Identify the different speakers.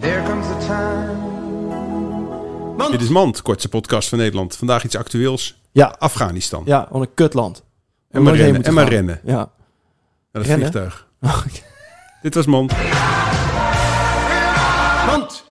Speaker 1: comes the time. Want
Speaker 2: Dit is Mand, kortste podcast van Nederland. Vandaag iets actueels.
Speaker 3: Ja,
Speaker 2: Afghanistan.
Speaker 3: ja, wat een kutland.
Speaker 2: en maar
Speaker 3: Nooit heen
Speaker 2: rennen.
Speaker 3: moeten
Speaker 2: En maar rennen.
Speaker 3: gaan. Ja.
Speaker 2: Naar het
Speaker 3: Rennen?
Speaker 2: vliegtuig. Dit was Mand.
Speaker 1: Want